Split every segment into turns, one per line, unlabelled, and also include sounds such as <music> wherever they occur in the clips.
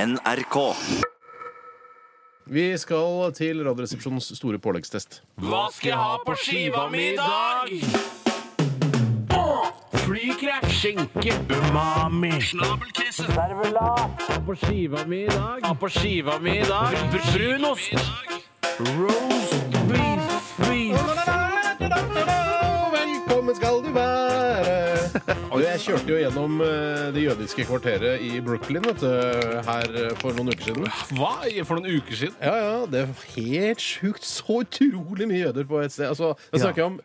NRK.
Vi skal til Radioresepsjonens store påleggstest.
Hva skal jeg ha på skiva mi i dag? Flykrek, skinke, umami, snabelkrise, servelat. Ha på skiva mi i dag. Ha på skiva mi i dag. Brunost. Roast beef. beef.
Velkommen skal du være. Du, jeg kjørte jo gjennom eh, det jødiske kvarteret i Brooklyn vet du, her eh, for noen uker siden.
Hva? For noen uker siden?
Ja, ja, det var helt sjukt. Så utrolig mye jøder på et sted. Altså, jeg snakker om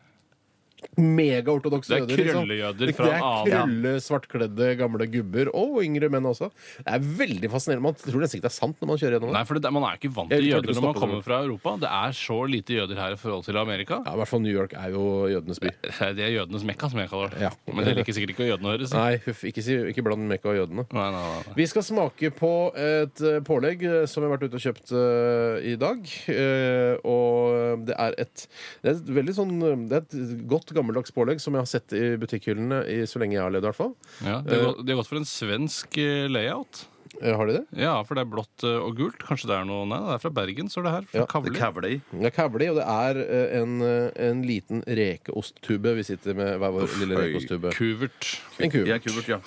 megaortodokse
Det er
jøder. liksom.
krøllejøder fra
Det er
en annen-
krølle, svartkledde gamle gubber. Og yngre menn også. Det er veldig fascinerende. Man tror nesten ikke det er sant når man kjører gjennom det.
Nei, for det, Man er ikke vant
Jeg
til
klarte ikke å
jøder når man
stoppe
kommer
det.
fra Europa. Det er så lite jøder her i forhold til Amerika.
Ja, I hvert fall New York er jo jødenes by.
Det er jødenes mekka, som jeg kaller det.
Ja.
Men det liker sikkert ikke jødene å høre. si.
Nei, huff, ikke, si- ikke bland Mekka og jødene.
Nei, nei, nei, nei.
Vi skal smake på et eh, pålegg eh, som jeg har vært ute og kjøpt eh, i dag. Eh, Og det er et Det er et veldig sånn eh, Det er et godt, gammeldags pålegg som jeg har sett i butikkhyllene i, så lenge jeg har levd, i hvert fall.
Ja, de, har gått, de har gått for en svensk eh, layout.
Eh, Har de det?
Ja, for det er blått eh, og gult. Kanskje det er noe Nei, det er fra Bergen, står det her. Fra
Ja,
Kavli.
Kavli.
Det er kavli, og det er eh, en, eh, en liten rekeosttube. Vi sitter med hver vår lille
oi,
rekeosttube.
Kuvert.
En kube.
Ja, kubert, ja.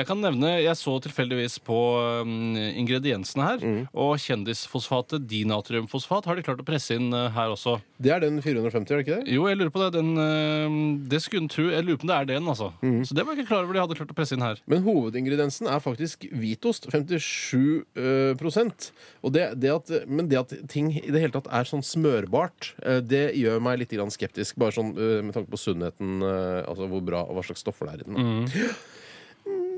Jeg kan nevne, jeg så tilfeldigvis på um, ingrediensene her. Og kjendisfosfatet, dinatriumfosfat, har de klart å presse inn eh, her også.
Det er den 450, er det ikke det?
Jo, jeg lurer på det. Den, eh, det skulle en tro. Jeg lurer på om det er den, altså. Så det var jeg ikke klar over de hadde klart å presse inn her.
Men hovedingrediensen er faktisk hvitost. 57 eh, prosent. Og det, det at, Men det at ting i det hele tatt er sånn smørbart, eh, det gjør meg litt grann skeptisk. Bare sånn eh, med tanke på sunnheten, eh, altså hvor bra og hva slags stoffer det er i den. da.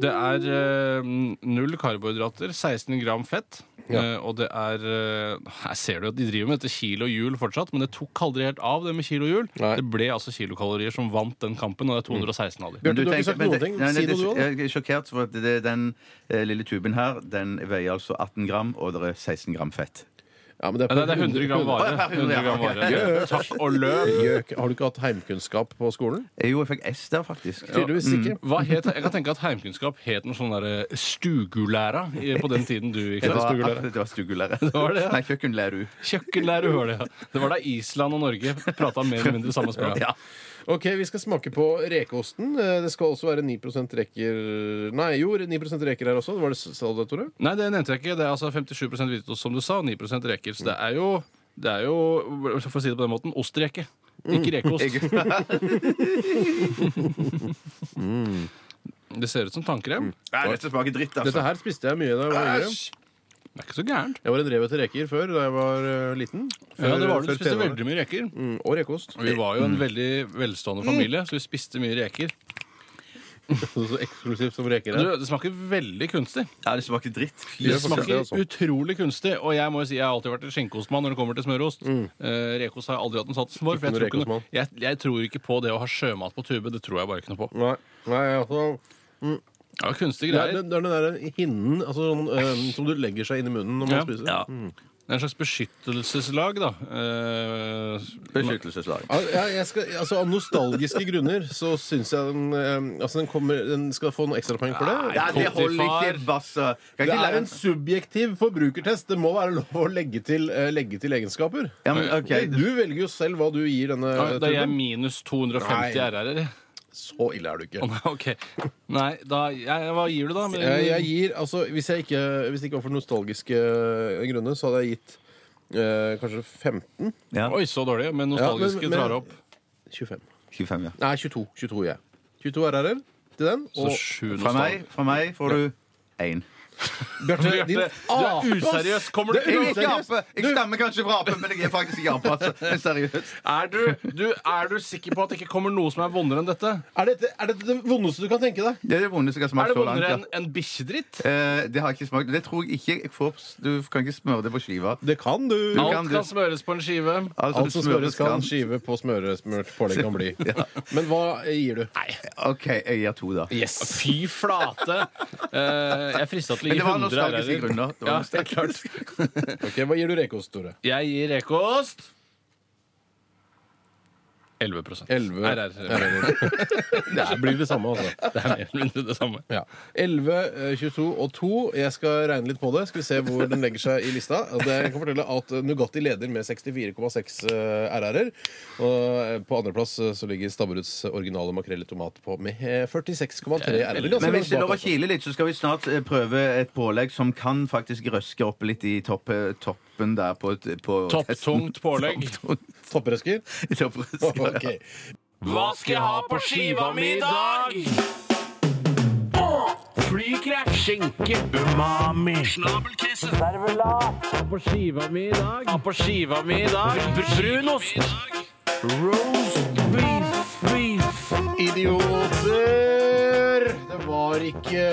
Det er eh, null karbohydrater, 16 gram fett.
Ja.
eh, og det er eh, Her ser du at de driver med dette kilo og hjul fortsatt, men det tok aldri helt av, det med kilo og hjul.
Nei.
Det ble altså kilokalorier som vant den kampen, og det er 216 av dem.
Bjarte, du har ikke sagt
men
noen
det-
ting.
nei, nei,
Si
det-
noe, du òg.
Jeg er sjokkert, for at det, den eh, lille tuben her Den veier altså 18 gram, og det er 16 gram fett.
Ja, men det
Nei, det er 100 gram vare.
Å, ja,
100 gram vare. Takk og løp.
Gjøk. Har du ikke hatt heimkunnskap på skolen?
Eh, Jo, jeg fikk S der, faktisk.
Tydeligvis ikke.
Hva het, jeg kan tenke at heimkunnskap het noe sånn derre stugulæra i- på den tiden du gikk der.
Det var,
Stugulæra.
det var stugulære.
var det, ja.
Nei, kjøkkenlæru.
Kjøkkenlære, hører det. ja. Det var da Island og Norge prata mer eller mindre samme språk.
Ja.
Ok, Vi skal smake på rekeosten. Eh, Det skal også være 9 reker Nei, jo, 9 reker her også. Var det sa du det, Tore?
Nei, det nevnte jeg ikke. Det er altså 57 hvitost, som du sa, og 9 reker. Så det er jo, det er jo for å si det på den måten, ostreke. Ikke rekeost. Det ser ut som tannkrem.
Nei, dette smaker dritt,
Dette
altså.
her spiste jeg mye da jeg var yngre.
Æsj!
Det er ikke så gærent.
Jeg var en rev etter reker før da jeg var eh, liten. Før,
Ja, det var det. Du
før
spiste
TV-ene.
veldig mye reker.
Mm, Og rekeost.
Vi var jo en veldig velstående familie, så vi spiste mye reker.
Så eksklusivt som reker
Du, det smaker veldig kunstig.
Ja, det smaker dritt. Fy
Gjør
Det
forskjell,
smaker
det, altså.
utrolig kunstig. Og jeg må jo si, jeg har alltid vært en skjenkeostmann når det kommer til smørost. Eh, rekost har jeg aldri hatt en satsen for. for jeg,
Mm. Ikke
tror ikke
noe
noe, jeg, jeg tror ikke på det å ha sjømat på tube. Det tror jeg bare ikke noe på.
Nei, nei, altså
Det er kunstige
det er, det
greier.
er den der hinnen altså, sånn, eh, som du legger seg inn i munnen når man
Ja.
spiser. Mm.
Ja.
Det er en slags beskyttelseslag, da. Eh,
Beskyttelseslag.
Al- Ja, jeg skal, altså, av nostalgiske grunner så syns jeg den, eh, altså, den, kommer, den skal få noen ekstrapoeng for det.
Nei, det holder ikke, Basse.
Det
Kan
er
ikke lære
en subjektiv forbrukertest. Det må være lov å legge til, eh, legge til egenskaper.
Ja, men ok.
Du velger jo selv hva du gir denne eh,
da er jeg
tuben.
minus 250
Nei.
RR-er.
Så ille er du ikke.
Å, nei, OK. Nei, da jeg, Hva gir du, da? Men-
Jeg, jeg gir, altså Hvis jeg ikke Hvis det ikke var for nostalgiske eh, grunner, så hadde jeg gitt eh, kanskje 15?
Ja.
Oi, så dårlig. Men nostalgiske
Ja, men- men-
drar opp.
25.
25, ja.
Nei, 22. 22 gir jeg. 22 RR-er til den.
Så
Og
sju
Fra
nostalgiske.
meg, fra meg får du én.
Bjarte,
Bjarte,
din
du er
ape!
useriøs! Kommer du
Det er
til å
useriøst. Seriøst?
Jeg stammer kanskje fra ape, men jeg er faktisk ikke ape. Altså. Men seriøst.
Er du, du, er du sikker på at det ikke kommer noe som er vondere enn dette?
Er dette er dette det vondeste du kan tenke deg?
Det er det vondeste jeg
Er
har smakt
det
så langt.
vondere
Ja.
enn en bikkjedritt?
Eh, det har jeg ikke smakt. Det tror jeg ikke jeg får Du kan ikke smøre det på skiva.
Det kan du.
Du
Alt
kan
kan
det.
smøres på en skive.
Altså,
Alt
du
som smøres
skal.
kan skive på smøresmurt pålegg kan <laughs> bli. Men hva gir du?
OK, jeg gir to, da.
Yes.
Ah, Fy flate! Eh, jeg er frista til å
Men
gi
det var
100
nostalgiske
RR-er.
grunner. Det
Ja,
var
det er klart.
Ok, Hva gir du rekeost, Tore?
Jeg gir rekeost 11
11
RR.
<laughs> Det blir det samme, altså.
Det er mer eller mindre det samme.
Ja. 11, eh, 22 og 2. Jeg skal regne litt på det. Skal vi se hvor den legger seg i lista. Og Det, jeg kan fortelle at eh, Nugatti leder med 64,6 eh, RR-er. Og eh, på andreplass eh, så ligger Stabburuts originale makrell i tomat på med eh, 46,3 RR-er.
Men hvis det er lov å kile litt, så skal vi snart eh, prøve et pålegg som kan faktisk røske opp litt i topp, eh, toppen der på, på testen.
Topptungt <laughs> pålegg.
<laughs>
Topprøsker? <laughs>
Topprøsker.
Ok.
Hva skal jeg ha på skiva mi i dag?
Flykrek, skinke, umami Snabelkrisse Servelat
På skiva mi i dag?
På skiva mi i dag Brunost Roast beef Beef
Idioter! Det var ikke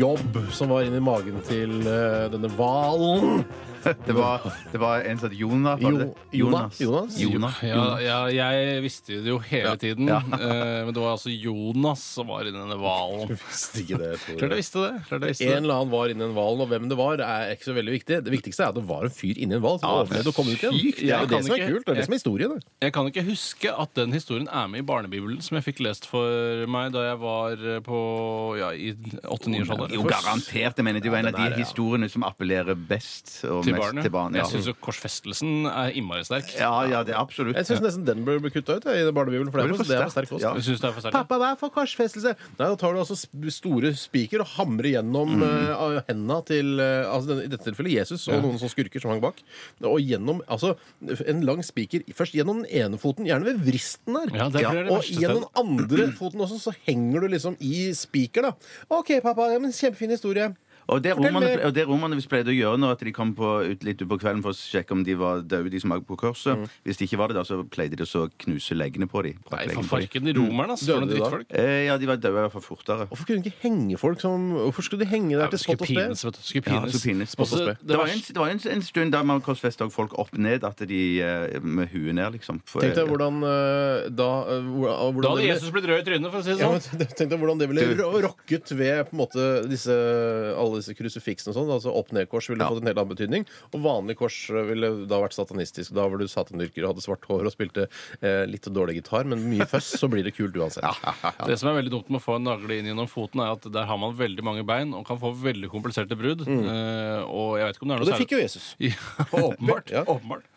jobb som var inni magen til eh, denne hvalen.
Det var, det var en som het Jonah. var det det?
Jo- Jonas?
Jonas. Jonah.
Ja, ja, jeg visste det jo hele tiden. eh, men det var altså Jonas som var i denne hvalen.
Visste ikke det, Tore.
Klart jeg visste det. Klart jeg visste
En
det.
eller annen var inni en hval, og hvem det var, er ikke så veldig viktig. Det viktigste er at det var en fyr inni en hval som
Ja,
overlevde og kom ut igjen.
sykt.
Det er
Jeg
jo det
kan
som er
ikke-
kult. Det er det som er historien. det.
Jeg kan ikke huske at den historien er med i barnebibelen som jeg fikk lest for meg da jeg var eh, på ja, i
Jo,
åtte-niårsalder.
garantert. Jeg mener, det er jo en av de historiene som appellerer best og
Til
mest
barnet.
til barn. Ja.
Jeg syns jo korsfestelsen er innmari sterk.
ja, ja, det er absolutt.
Jeg syns nesten den bør bli kutta ut jeg, i barnebibelen, for det
Det
var,
blir for
det var
sterkt,
sterk kost.
ja.
Jeg synes det er for sterkt.
Pappa, hva er for korsfestelse? Nei, Da tar du altså sp- store spiker og hamrer gjennom
Mm.
eh, henda til eh, altså, den, I dette tilfellet Jesus og noen sånne skurker som hang bak. Og gjennom altså, en lang spiker først gjennom den ene foten, gjerne ved vristen der.
Ja, det tror jeg er det
og
verste
gjennom den andre <clears throat> foten også, så henger du liksom i spiker, da. OK, pappa. Ja, men Kjempefin historie.
Og det,
Fortell
romerne,
mer.
og det romerne visst pleide å gjøre når at de kom på, ut litt utpå kvelden for å sjekke om de var døde, de som var på korset
Mm.
Hvis de ikke var det, da, så pleide de å så knuse leggene på dem.
Nei, for farken i romerne, ass.
Døde
For noen
de da?
drittfolk.
Eh, ja, de var døde i hvert fall fortere.
Hvorfor kunne de ikke henge folk som Hvorfor skulle de henge der til
Skulle
spott og spe?
pines, vet du. Skulle
Ja,
pines.
så pines.
Også,
Det,
det
var
verste-
jo en, det var jo en, en stund der man korsfesta folk opp ned, at de eh, med huet ned, liksom. For-
Tenk deg hvordan eh, da eh, hvor- hvordan
Da
det
hadde
ble-
Jesus blitt rød i trynet, for å si det
Ja,
sånn.
men t- <laughs> Tenk deg hvordan det ville
Du-
ro- rokket ved på en måte disse, alle disse krusifiksene og sånn. Altså Opp-ned-kors ville fått en helt annen betydning. Og vanlig kors ville da vært satanistisk. Da var du satandyrker og hadde svart hår og spilte eh, litt dårlig gitar, men mye føss, så blir det kult uansett.
Det som er veldig dumt med å få en nagle inn gjennom foten, er at der har man veldig mange bein og kan få veldig kompliserte brudd. Eh, og jeg vet ikke om det er
Og
noe
det fikk jo Jesus.
<laughs> Ja, åpenbart.
Ja.
åpenbart.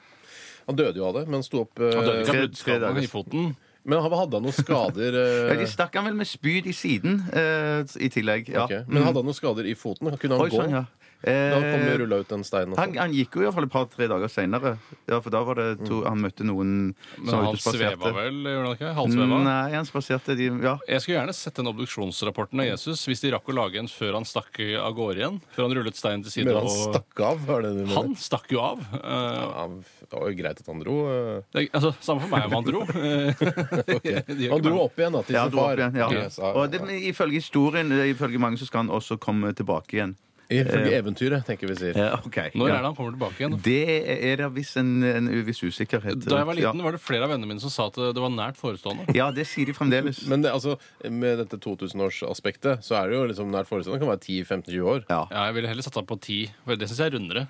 Han dødde jo av det, men sto opp
Han døde
eh,
ikke av
Tre- tre
bruddskaden
dager.
i foten.
Men han hadde han noen
<laughs>
skader eh,
Ja, de stakk han vel med spyd i siden eh, i tillegg. Ja.
ok. Men hadde han noen skader i foten? Kunne han
Oi sann, ja. Eh,
gå? Da han kom rulla ut den steinen. og
han,
sånn.
han gikk jo iallfall et par-tre dager seinere. Ja, for da var det to,
Mm.
han møtte noen som
Men han
var ute og spaserte.
sveva vel, gjorde han ikke? Halvsveva.
Mm, Nei, han spaserte de Ja.
Jeg skulle gjerne sett den obduksjonsrapporten av Jesus hvis de rakk å lage en før han stakk av gårde igjen. Før han rullet steinen til side.
Men han
og...
stakk av, var det det du mener?
han stakk jo av. Eh,
Ja, det var jo greit at han dro. eh.
det, altså, samme for meg om han dro. <laughs> Eh, det gjør
Han
ikke
dro
meg.
opp igjen da, til
Ja,
sin
dro opp
far.
igjen, ja.
Yes, ja, ja,
Og det,
ja.
men ifølge historien, eh, ifølge mange, så skal han også komme tilbake igjen.
Ifølge eventyret, tenker vi sier.
Ja, ok.
Når
Ja.
er det han kommer tilbake igjen?
Det er det visst en, en uviss usikkerhet.
Da jeg var liten,
ja.
var det flere av vennene mine som sa at det var nært forestående.
ja, det sier de fremdeles.
Men det, altså, med dette 2000-årsaspektet så er det jo liksom nært forestående. Det kan være 10-15-20 år.
Ja.
Ja, jeg ville heller satsa på ti. for Det syns jeg er rundere.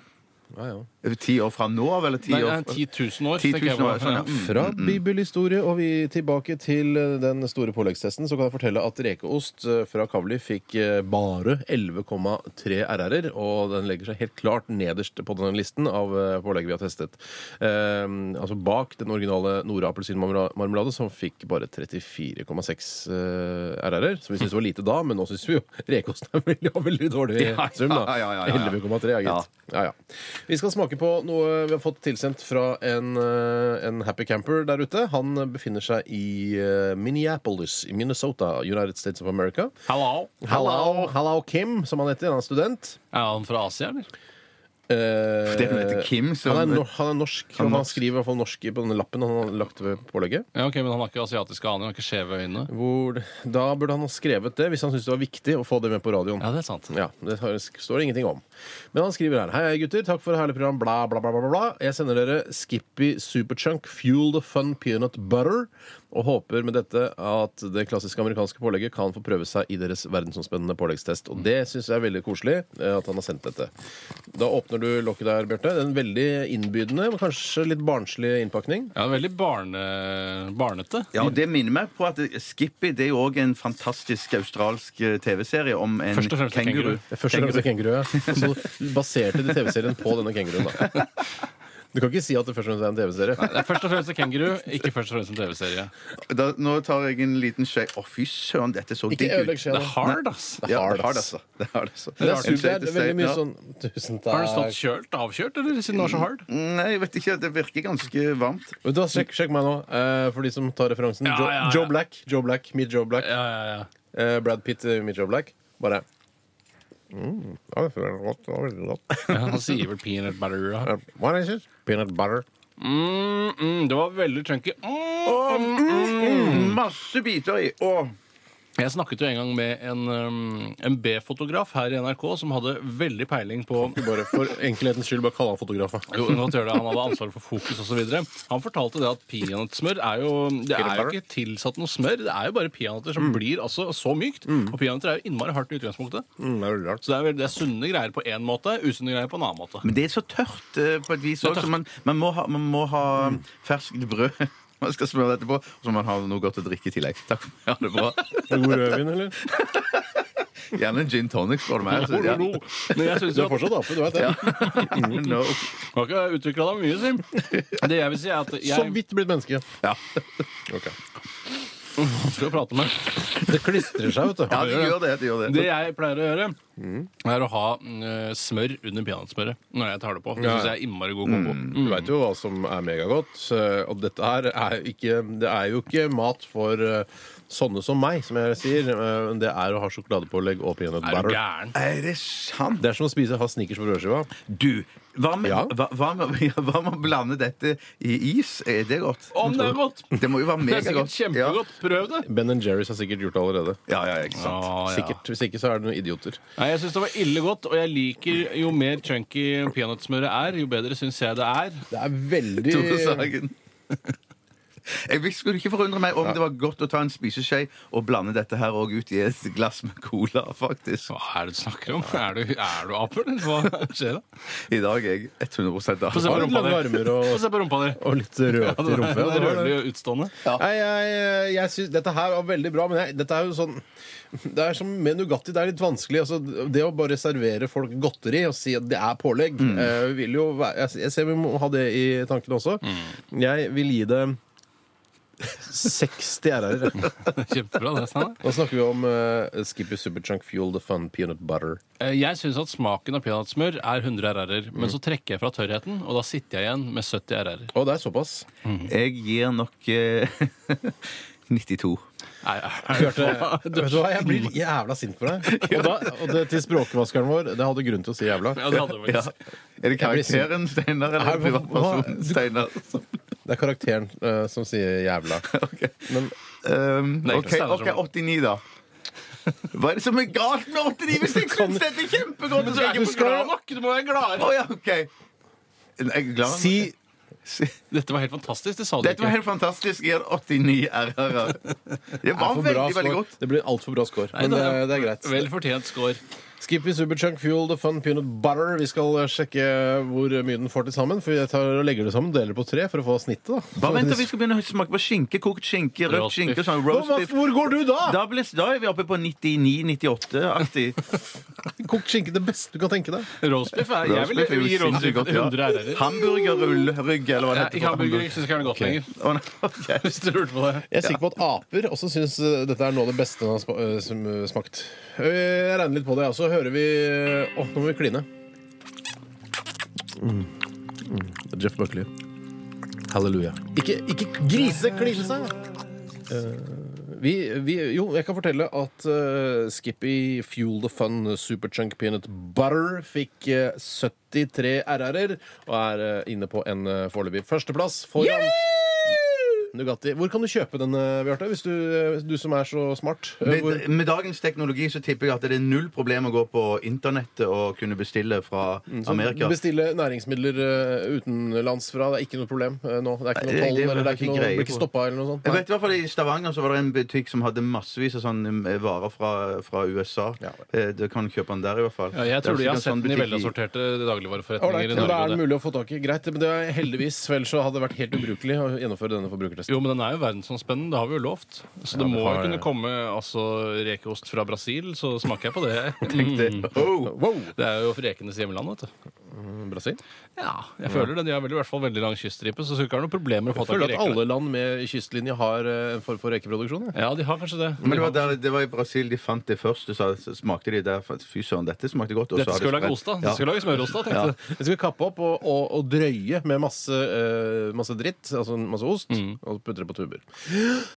Ja, ja.
Eh, Ti år fra nå, eller ti
Nei,
år
nei, 10 000 år.
10 000
tenker jeg var.
år, sånn, ja. Mm.
Fra bibelhistorie og vi tilbake til eh, den store påleggstesten, så kan jeg fortelle at rekeost eh, fra Kavli fikk eh, bare 11,3 RR-er, og den legger seg helt klart nederst på denne listen av eh, pålegg vi har testet. Eh, altså bak den originale Nora appelsinmarmelade, som fikk bare 34,6 eh, RR-er, som vi syntes var lite da, men nå syns vi jo rekeost er veldig, veldig dårlig
<laughs> Ja, ja,
sum, da.
ja, ja, ja, ja.
11,3, ja, gitt. Ja, ja. Vi skal smake på noe vi har fått tilsendt fra en, eh, en happy camper der ute. Han befinner seg i eh, Minneapolis i Minnesota, United States of America.
Hallo.
Hello, hello Kim, som han heter. Han er student.
Er han fra Asia, eller?
Eh,
Det er hun heter Kim, så-
han, er nor- han er norsk.
Han
Han,
er
han
norsk.
skriver i hvert fall norsk på denne lappen han har lagt ved pålegget.
Ja, ok, Men han har ikke asiatiske aner, han har ikke skjeve øyne.
Hvor, da burde han ha skrevet det, hvis han syntes det var viktig å få det med på radioen.
Ja, det er sant.
Ja, Det har- står det ingenting om. Men han skriver her. Hei, gutter. Takk for et herlig program. Bla, bla, bla, bla, bla, bla. Jeg sender dere Skippy Superchunk Fuel the Fun Peanut Butter og håper med dette at det klassiske amerikanske pålegget kan få prøve seg i deres verdensomspennende påleggstest. Og det syns jeg er veldig koselig eh, at han har sendt dette. Da åpner åpner du lokket der, Bjarte. Den veldig innbydende, men kanskje litt barnslig innpakning.
Ja, veldig barne, barnete.
Ja, og Det minner meg på at eh, Skippy det er jo òg en fantastisk australsk eh, TV-serie om en
Først og fremst en kenguru.
kenguru.
Det er Først og fremst en kenguru, ja. Og <laughs> så baserte de TV-serien på denne kenguruen, <laughs> da. Du kan ikke si at det først og fremst er en TV-serie.
Det er først og fremst en kenguru, ikke først og fremst en TV-serie.
Da, nå tar jeg en liten skje. Å, fy søren, dette så
Ikke
digg
ødelegg
Det
ut.
skjea,
er
da.
hard, ass.
Ja,
Hard,
det har det,
ass.
altså. Det har det, altså.
Det er,
En
super,
skje til
det er veldig mye
stein, ja.
sånn Tusen takk.
Har den stått kjølt, avkjølt, eller siden den var så hard?
Nei, jeg vet ikke. Det virker ganske varmt.
Vet du hva, sjekk, sjekk meg nå, eh, for de som tar referansen.
Ja,
Joe,
ja, ja.
Joe Black, Joe Black, Meet Joe Black.
Ja, ja, ja.
Eh, Brad Pitt, eh, Meet Joe Black. Bare mm, ja, det var godt, det var veldig godt.
Ja, Han sier vel peanut butter. da.
Eh, What is it? Peanut butter.
Mm, mm, det var veldig chunky. Mm.
Mm. Masse biter i. Å,
Jeg snakket jo en gang med en, um, en B-fotograf her i NRK som hadde veldig peiling på
Bare for enkelhetens skyld, bare kall han fotograf. da.
jo, nå tør det, Han hadde ansvaret for fokus osv. Han fortalte det at peanøttsmør er jo Det er jo ikke tilsatt noe smør. Det er jo bare peanøtter som blir altså så mykt. Og peanøtter er jo innmari hardt i utgangspunktet.
Mm, det er veldig rart.
Så det er, vel- det er sunne greier på én måte, usunne greier på en annen måte.
Men det er så tørt eh, på et vis
er
også,
tørt. Mm.
så Man, man må ha, man må ha ferskt brød. <laughs> Man skal smøre dette på, og så må man ha noe godt å drikke i tillegg. Takk for meg, ha det
<laughs>
bra.
Er det <laughs> God rødvin, eller?
Gjerne en gin tonic, spør du meg. Så, ja. <laughs>
Men jeg synes
Du
jo
er
at
fortsatt ape, du veit det.
No.
<laughs> Du har ikke utvikla deg mye, Sim. Det jeg vil si, er at
Så
jeg
vidt blitt menneske. <laughs>
Ja.
skal jo prate med
Det klistrer seg, vet du.
ja, det gjør det. det, gjør
Det
det.
jeg pleier å gjøre, er å ha mm, smør under peanøttsmøret når jeg tar det på. Det
Ja, Mm.
syns
ja.
jeg er innmari god kombo.
Du veit jo hva som er megagodt. eh, Og dette her er jo ikke Det er jo ikke mat for eh, sånne som meg, som jeg sier. eh, men Det er å ha sjokoladepålegg og peanut
Er du
butter.
gæren?
Er det sant?
Det er som å spise ha snickers på brødskiva.
Du, hva med,
Ja.
hva, hva med, <laughs> ja, hva med å blande dette i is? Er det godt?
Om det er godt!
Det må jo være
Det er sikkert
megagodt.
kjempegodt. Prøv det.
Ben Jerry's har sikkert gjort det allerede.
Ja. ja, ja, ikke sant.
Ah,
Sikkert, Hvis ikke så er det noen idioter.
Nei, jeg syns det var ille godt, og jeg liker jo mer chunky peanøttsmøret er, jo bedre syns jeg det er.
Det
<laughs>
er veldig
Tore Sagen. <laughs> Jeg visste- skulle ikke forundre meg om det var godt å ta en spiseskje og blande dette her også ut i et glass med cola, faktisk.
Hva er det du snakker om? Er du, er du aper, eller hva skjer da?
I dag er jeg 100
Få se
av.
på
Litt
rumpa
lange
di.
armer og,
Få se på rumpa di.
og litt rødt i
Det
rumpa.
er rødlig og utstående.
Nei, jeg, jeg synes, Dette her var veldig bra, men jeg, dette er jo sånn Det er som med Nugatti, det er litt vanskelig. Altså, det å bare servere folk godteri og si at det er pålegg eh, vil jo være, jeg, jeg ser vi må ha det i tankene også. Jeg vil gi det <laughs> 60 RR-er.
<laughs> Kjempebra, det. Steinar.
Nå snakker vi om eh, Skippy Superchunk Fuel The Fun Peanut Butter.
Eh, Jeg syns at smaken av peanøttsmør er 100 RR-er, men så trekker jeg fra tørrheten, og da sitter jeg igjen med 70 RR-er.
Å, det er såpass.
Jeg gir nok eh, <laughs> 92.
Nei, er det-
Bjarte, <laughs>
<laughs>
vet du hva, jeg blir jævla sint på <laughs> deg. Og, da, og det, til språkvaskeren vår, det hadde grunn til å si jævla.
Ja, det hadde jeg
Ja.
faktisk.
Er det
blir sint.
karakteren Steinar eller
Nei, hva- hva-
privatpersonen Steinar?
Det er karakteren eh, som sier <laughs> jævla.
Ok.
Men
Um,
Nei, ikke
OK,
Steinar som-
ok, 89, da. Hva er det som er galt med 89 hvis jeg syns dette er kjempegodt? og så er jeg
Du
ikke
skal
på
være
glad nok?
nok, du må være gladere!
Å ja, OK. Jeg er glad.
si
Dette var helt fantastisk, det sa du
Dette var
ikke.
helt fantastisk. Jeg gir 89 RR. Det var
for bra
veldig, veldig
score.
godt.
Det blir altfor bra score. Men
Nei,
det,
det er-
det er greit.
Vel fortjent score.
Skippy Superchunk Fuel The Fun Peanut Butter. Vi skal eh, sjekke hvor mye den får til sammen. For jeg tar og legger det sammen, deler på tre for å få snittet. da
Bare vent til vi skal begynne å smake på skinke, kokt skinke, rødt
Roast
skinke,
beef.
sånn
Hva-
roast
hva-
beef.
Hvor går du da?
Da, ble, da er vi oppe på 99-98-aktig.
Kokt skinke det beste du kan tenke deg.
Roastbiff er Jeg vil gi roastbiff 100 RR-er.
Hamburgerrullrygg, eller hva det
Ja,
heter.
Ikke hamburger, jeg syns ikke han er godt lenger.
Å, nei, ok.
Hvis du lurte på det.
Jeg er sikker på at aper også syns eh, dette er noe av det beste den har sma- eh, som, eh, smakt. Eh, Jeg regner litt på det, og så hører vi Å, nå må vi kline. Mm. Mm. Det er Jeff Buckley. Halleluja. Ikke, ikke grise kline seg! Eh, Vi, vi, jo, jeg kan fortelle at eh, Skippy Fuel the Fun Superchunk Peanut Butter fikk eh, eh, 73 RR-er og er eh, inne på en uh, foreløpig førsteplass foran Nugatti. Hvor kan du kjøpe den, eh, Bjarte? Hvis du, du som er så smart. Eh, Hvor,
Med, med dagens teknologi så tipper jeg at det er null problem å gå på internettet og kunne bestille fra Amerika.
bestille næringsmidler eh, utenlands fra. Det er ikke noe problem eh, nå. Det er ikke noe
Nei, det- det
toll, eller det er
fikk
ikke noe,
greie
blir ikke
på.
stoppa eller noe sånt.
Jeg
Nei.
vet i hvert fall I Stavanger så var det en butikk som hadde massevis av sånne eh, varer fra, fra USA.
Ja.
Eh, Du kan kjøpe den der, i hvert fall.
Ja, jeg tror
Det
de
er
har
sikkert
sett
en sånn
den i
butikk
velassorterte dagligvareforretninger
Ålreit,
i
men Da er
Norge.
den
og det-
mulig å få tak i. Greit, men det er heldigvis, for ellers så hadde det vært helt ubrukelig å gjennomføre denne forbrukertesten.
Jo, men den er jo verdensomspennende. Det har vi jo lovt. Så det
vi
må jo
har-
kunne komme altså, rekeost fra Brasil, så smaker jeg på det. <laughs>
tenkte,
Mm.
oh,
Wow!
Det er jo rekenes hjemland, vet du.
Brasil?
Ja, jeg føler det. De har vel, i hvert fall veldig lang kyststripe, så det ikke være noen problemer med å
Jeg
få tak i
føler at
reker.
alle land med kystlinje har eh, en form for rekeproduksjon. jeg.
Ja, de har kanskje det.
Men det var, der, det var i Brasil de fant det først. og Så så smakte de der for- Fy søren, dette smakte godt. og så
Dette
har
skal
det
vi lage
spredt.
ost av.
Ja.
Dette skal vi lage smørost av, tenkte jeg.
Jeg skal kappe opp og, og, og
Mm.
drøye med masse, eh, masse dritt, altså masse ost, og putte det på tuber.